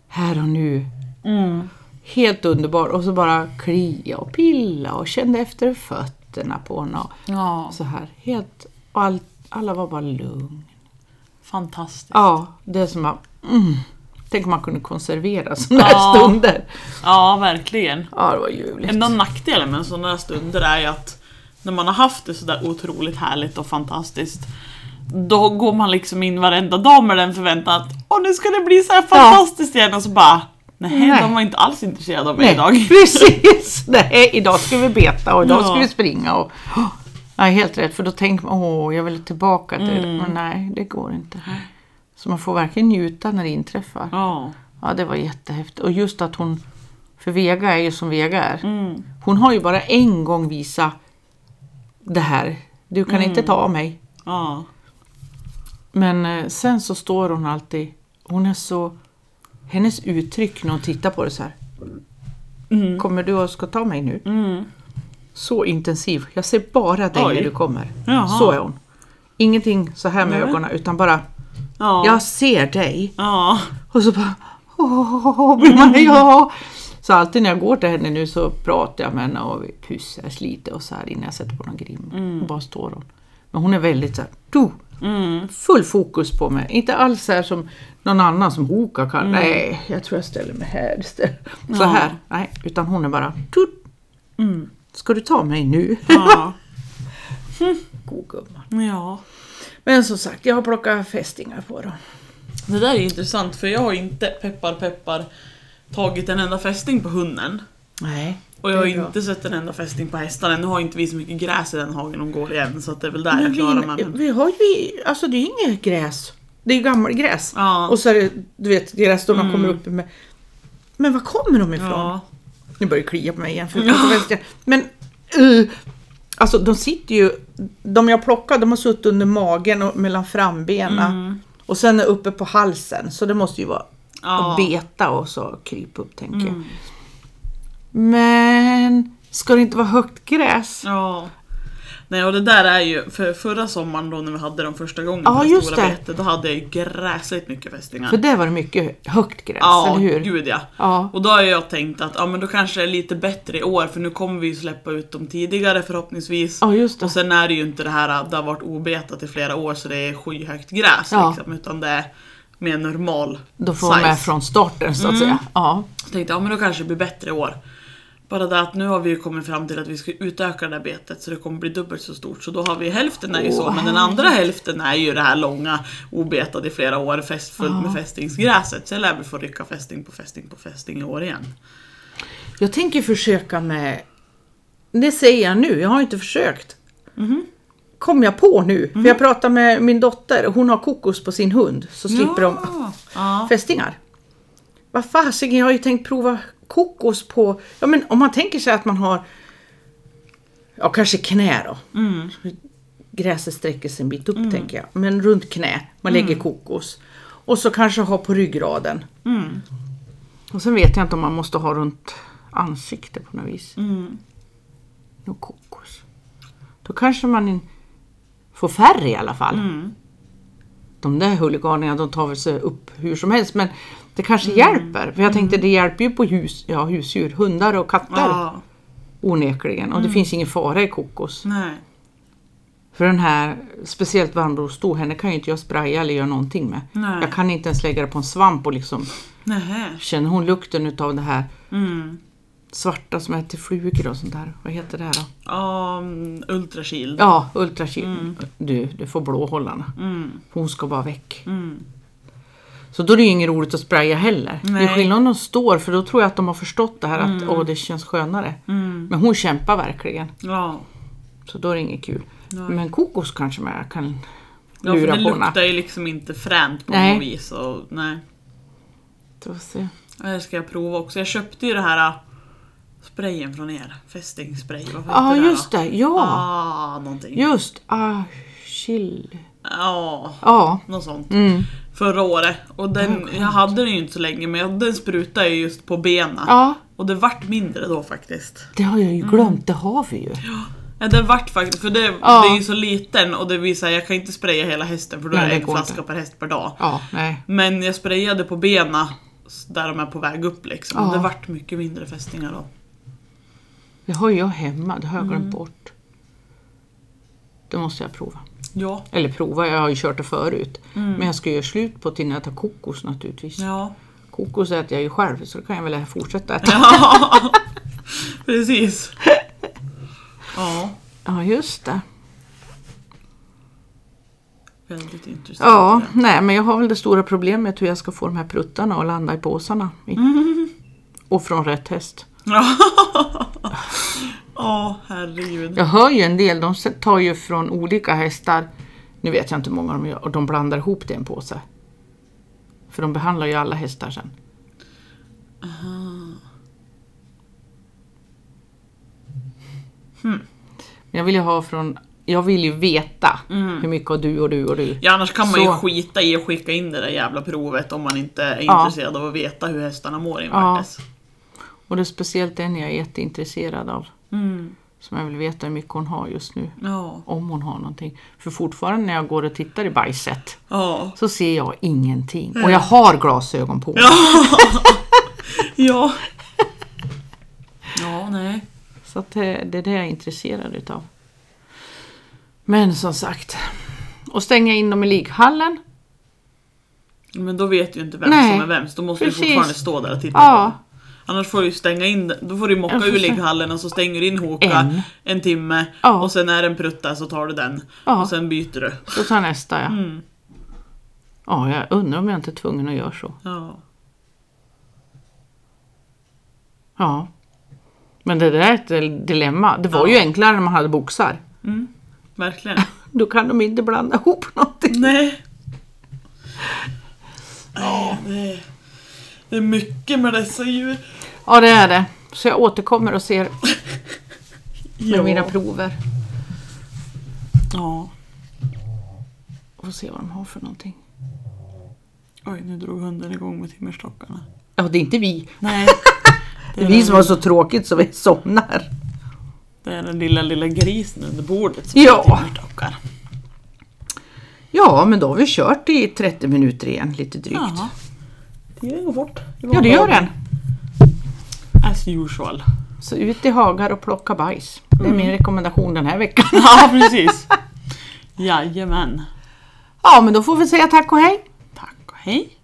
Speaker 1: här och nu.
Speaker 2: Mm.
Speaker 1: Helt underbar. Och så bara klia och pilla och kände efter fötterna på honom.
Speaker 2: Ja.
Speaker 1: Så här, helt, och all, alla var bara lugn.
Speaker 2: Fantastiskt.
Speaker 1: Ja, det är som att, mm, tänk om man kunde konservera sådana här
Speaker 2: Ja.
Speaker 1: stunder.
Speaker 2: Ja, verkligen.
Speaker 1: Ja, det var ljuvligt.
Speaker 2: Enda nackdelen med sådana här stunder är ju att när man har haft det sådär otroligt härligt och fantastiskt då går man liksom in varenda dag med den förväntan att Åh, nu ska det bli så här fantastiskt igen och så bara Nej,
Speaker 1: Nej.
Speaker 2: de var inte alls intresserade av mig
Speaker 1: Nej,
Speaker 2: idag.
Speaker 1: precis! Nej, idag ska vi beta och idag
Speaker 2: Ja.
Speaker 1: ska vi springa. Och, oh, nej, helt rätt, för då tänker man åh, jag vill tillbaka till
Speaker 2: Mm.
Speaker 1: det. Men nej, det går inte. Så man får verkligen njuta när det inträffar.
Speaker 2: Ja.
Speaker 1: Ja, det var jättehäftigt. Och just att hon, för Vega är ju som Vega är.
Speaker 2: Mm.
Speaker 1: Hon har ju bara en gång visat det här. Du kan inte
Speaker 2: Mm.
Speaker 1: ta av mig.
Speaker 2: Ja.
Speaker 1: Men eh, sen så står hon alltid, hon är så, hennes uttryck när hon tittar på det så här.
Speaker 2: Mm.
Speaker 1: Kommer du och ska ta mig nu? Så intensiv. Jag ser bara dig
Speaker 2: Oj.
Speaker 1: när du kommer.
Speaker 2: Jaha.
Speaker 1: Så är hon. Ingenting så här med
Speaker 2: Nej.
Speaker 1: ögonen utan bara,
Speaker 2: Ja.
Speaker 1: jag ser dig.
Speaker 2: Ja.
Speaker 1: Och så bara, åh, blir man, ja. Så alltid när jag går till henne nu så pratar jag med henne och vi pussas lite och så här innan jag sätter på någon grim.
Speaker 2: Mm.
Speaker 1: Och bara står hon. Men hon är väldigt så här, du,
Speaker 2: Mm.
Speaker 1: full fokus på mig. Inte alls så här som någon annan som hokar
Speaker 2: Mm.
Speaker 1: kan. Nej, jag tror jag ställer mig här istället. Så här. Nej, utan hon är bara, du,
Speaker 2: Mm.
Speaker 1: ska du ta mig nu?
Speaker 2: Ja.
Speaker 1: God gumma.
Speaker 2: ja.
Speaker 1: Men som sagt, jag har plockat fästingar på dem.
Speaker 2: Det där är intressant för jag har inte, peppar peppar, tagit en enda fästing på hunden.
Speaker 1: Nej.
Speaker 2: Och jag har
Speaker 1: det är bra.
Speaker 2: inte sett en enda fästing på hästarna. Nu har inte vi så mycket gräs i den hagen de går igen så att det är väl där jag klarar
Speaker 1: Men
Speaker 2: mig.
Speaker 1: vi,
Speaker 2: Men...
Speaker 1: vi har ju, alltså det är inget gräs. det är ju gammelgräs.
Speaker 2: Ja. Mm.
Speaker 1: Och så är det, du vet, grässtråna kommer upp med... Men var kommer de ifrån?
Speaker 2: ja.
Speaker 1: Nu börjar det klia på mig igen. För ja. Men... Uh, alltså de sitter ju... De jag plockade, de har suttit under magen och mellan frambenen.
Speaker 2: Mm.
Speaker 1: Och sen uppe på halsen, så det måste ju vara
Speaker 2: Ja. Mm.
Speaker 1: beta och så kryp upp tänker jag. Men... Ska det inte vara högt gräs?
Speaker 2: Ja. Nej och det där är ju, för förra sommaren då när vi hade dem första gången
Speaker 1: Ja,
Speaker 2: på det
Speaker 1: just
Speaker 2: stora
Speaker 1: det.
Speaker 2: betet, då hade jag ju gräsligt mycket fästingar.
Speaker 1: För där var det mycket högt gräs,
Speaker 2: ja,
Speaker 1: eller hur?
Speaker 2: gud ja.
Speaker 1: Ja.
Speaker 2: Och då har jag tänkt att ja, men då kanske det är lite bättre i år för nu kommer vi ju släppa ut dem tidigare förhoppningsvis.
Speaker 1: ja, just det.
Speaker 2: Och sen är det ju inte det här att det har varit obetat i flera år så det är skyhögt gräs
Speaker 1: Ja.
Speaker 2: liksom, utan det är mer normal
Speaker 1: Då får man med
Speaker 2: size. Mm.
Speaker 1: från starten så att säga. Ja.
Speaker 2: Så tänkte jag, ja men då kanske det blir bättre i år. Bara det att nu har vi ju kommit fram till att vi ska utöka det här betet så det kommer bli dubbelt så stort. Så då har vi hälften är ju så,
Speaker 1: Åh,
Speaker 2: men den andra hälften är ju det här långa obetade i flera år fäst, fullt med fästingsgräset. Sen lär vi få rycka fästing på fästing på fästing i år igen.
Speaker 1: Jag tänker försöka med... Det säger jag nu, jag har inte försökt.
Speaker 2: Mm-hmm.
Speaker 1: Kom jag på nu, för jag pratade med min dotter, hon har kokos på sin hund så slipper de
Speaker 2: Ja.
Speaker 1: fästingar. Vad fasiken, jag har ju tänkt prova kokos på... Ja men om man tänker sig att man har... Ja kanske knä då. Gräset sträcker sig en bit upp tänker jag. Men runt knä, man lägger kokos. Och så kanske ha på ryggraden. Och sen vet jag inte om man måste ha runt ansikte på något vis. Något kokos. Då kanske man in- får färre i alla fall. De där huliganerna de tar väl sig upp hur som helst men det kanske hjälper. För jag tänkte det hjälper ju på hus, ja, husdjur, hundar och katter
Speaker 2: Ja,
Speaker 1: onekligen.
Speaker 2: Mm.
Speaker 1: Och det finns ingen fara i kokos.
Speaker 2: nej.
Speaker 1: För den här, speciellt varmblodsstor, henne kan ju inte jag spraya eller göra någonting med.
Speaker 2: Nej.
Speaker 1: Jag kan inte ens lägga det på en svamp och liksom
Speaker 2: Nähä.
Speaker 1: känner hon lukten utav det här
Speaker 2: Mm.
Speaker 1: svarta som äter flugor och sånt där. Vad heter det här då?
Speaker 2: Um, ultrashield.
Speaker 1: Ja, ultrakyl.
Speaker 2: Mm.
Speaker 1: Du, du får blåhållarna. För Hon ska bara väck.
Speaker 2: Mm.
Speaker 1: Så då är det ju inget roligt att spraya heller. Det
Speaker 2: Nej. Mm.
Speaker 1: är skillnad om de står för då tror jag att de har förstått det här att åh, det känns skönare. Men hon kämpar verkligen.
Speaker 2: Ja.
Speaker 1: Så då är det inget kul. Men kokos kanske man kan
Speaker 2: Ja, för
Speaker 1: lura
Speaker 2: det
Speaker 1: på henne.
Speaker 2: luktar ju liksom inte fränt på
Speaker 1: Nej.
Speaker 2: något vis. Och, nej.
Speaker 1: Då se.
Speaker 2: Det här ska jag prova också. Jag köpte ju det här äh, sprayen från er. Fästingspray. Vad heter
Speaker 1: Ja,
Speaker 2: det här
Speaker 1: just
Speaker 2: då?
Speaker 1: det. Ja,
Speaker 2: Ah, någonting.
Speaker 1: just. Ah, chill.
Speaker 2: Ja,
Speaker 1: Ja,
Speaker 2: något sånt.
Speaker 1: mm.
Speaker 2: Förra året. Och den, jag hade den ju inte så länge men jag- den sprutade ju just på benen.
Speaker 1: ja,
Speaker 2: Och det vart mindre då faktiskt.
Speaker 1: det har jag ju glömt. Det har vi ju.
Speaker 2: Mm. Ja, det vart faktiskt, för det,
Speaker 1: Ja.
Speaker 2: det är ju så liten och det visar jag kan inte spraya hela hästen för då
Speaker 1: Nej,
Speaker 2: är det
Speaker 1: det
Speaker 2: en
Speaker 1: går
Speaker 2: flaska
Speaker 1: inte.
Speaker 2: per häst per dag.
Speaker 1: Ja, nej.
Speaker 2: Men jag sprayade på benen s- där de är på väg upp liksom.
Speaker 1: Ja.
Speaker 2: Det vart mycket mindre fästingar då.
Speaker 1: Det har jag hemma, det har jag glömt
Speaker 2: Mm.
Speaker 1: bort. Det måste jag prova.
Speaker 2: Ja,
Speaker 1: Eller prova, jag har ju kört det förut. Men jag ska göra slut på det innan jag tar kokos naturligtvis.
Speaker 2: Mm. ja.
Speaker 1: Kokos äter jag ju själv så det kan jag väl fortsätta äta.
Speaker 2: Ja, precis. Ja,
Speaker 1: Ja, just det.
Speaker 2: väldigt intressant.
Speaker 1: Ja, nej men jag har väl det stora problemet hur jag ska få de här pruttarna att landa i påsarna. I-
Speaker 2: Mm.
Speaker 1: Och från rätt häst.
Speaker 2: Ja, ja herregud.
Speaker 1: Jag hör ju en del, de tar ju från olika hästar. Nu vet jag inte hur många de gör och de blandar ihop det i en påse. För de behandlar ju alla hästar sen. Men jag vill ju ha från... Jag vill ju veta hur mycket har du och du och du.
Speaker 2: Ja, annars kan man ju
Speaker 1: Så.
Speaker 2: skita i att skicka in det där jävla provet om man inte är
Speaker 1: Ja.
Speaker 2: intresserad av att veta hur hästarna mår invärtes.
Speaker 1: Och det är speciellt en jag är jätteintresserad av. Som jag vill veta hur mycket hon har just nu.
Speaker 2: Ja.
Speaker 1: Om hon har någonting. För fortfarande när jag går och tittar i bajset
Speaker 2: Ja.
Speaker 1: så ser jag ingenting. Och jag har glasögon på mig.
Speaker 2: Ja. Ja, nej.
Speaker 1: Så att det, det är det jag är intresserad utav. Men som sagt. Och stänga in dem i ligghallen.
Speaker 2: Men då vet ju inte vem
Speaker 1: Nej,
Speaker 2: som är vems. Då måste
Speaker 1: precis.
Speaker 2: du fortfarande stå där och titta på
Speaker 1: Ja.
Speaker 2: dem. Annars får du ju stänga in, då får du ju mocka
Speaker 1: Jag får
Speaker 2: ur
Speaker 1: se.
Speaker 2: ligghallen och så stänger du in Håka en,
Speaker 1: En.
Speaker 2: timme
Speaker 1: Ja.
Speaker 2: och sen är det en prutta så tar du den
Speaker 1: Ja.
Speaker 2: och sen byter du.
Speaker 1: Så tar nästa ja. Ja, jag undrar om jag inte är tvungen att göra så.
Speaker 2: Ja.
Speaker 1: Ja. Men det där är ett dilemma. Det var ju enklare när man hade boxar.
Speaker 2: Verkligen.
Speaker 1: Då kan de inte blanda ihop någonting.
Speaker 2: Nej. Ja, det är, det är mycket med dessa djur.
Speaker 1: Ja, det är det. Så jag återkommer och ser med
Speaker 2: Ja.
Speaker 1: mina prover.
Speaker 2: ja.
Speaker 1: Och får se vad de har för någonting.
Speaker 2: Oj, nu drog hunden igång med timmerstockarna.
Speaker 1: Ja, det är inte vi.
Speaker 2: Nej.
Speaker 1: Det är vi som har så tråkigt så vi somnar.
Speaker 2: Det är den lilla, lilla grisen under bordet som
Speaker 1: Ja.
Speaker 2: har timmerstockar.
Speaker 1: Ja, men då har vi kört i 30 minuter igen, lite drygt.
Speaker 2: Jaha. Det går fort.
Speaker 1: Ja, det gör den.
Speaker 2: As usual.
Speaker 1: Så ut i hagar och plocka bajs. Det är min rekommendation den här veckan.
Speaker 2: Ja, precis. Jajamän.
Speaker 1: Ja, men då får vi säga tack och hej.
Speaker 2: Tack och hej.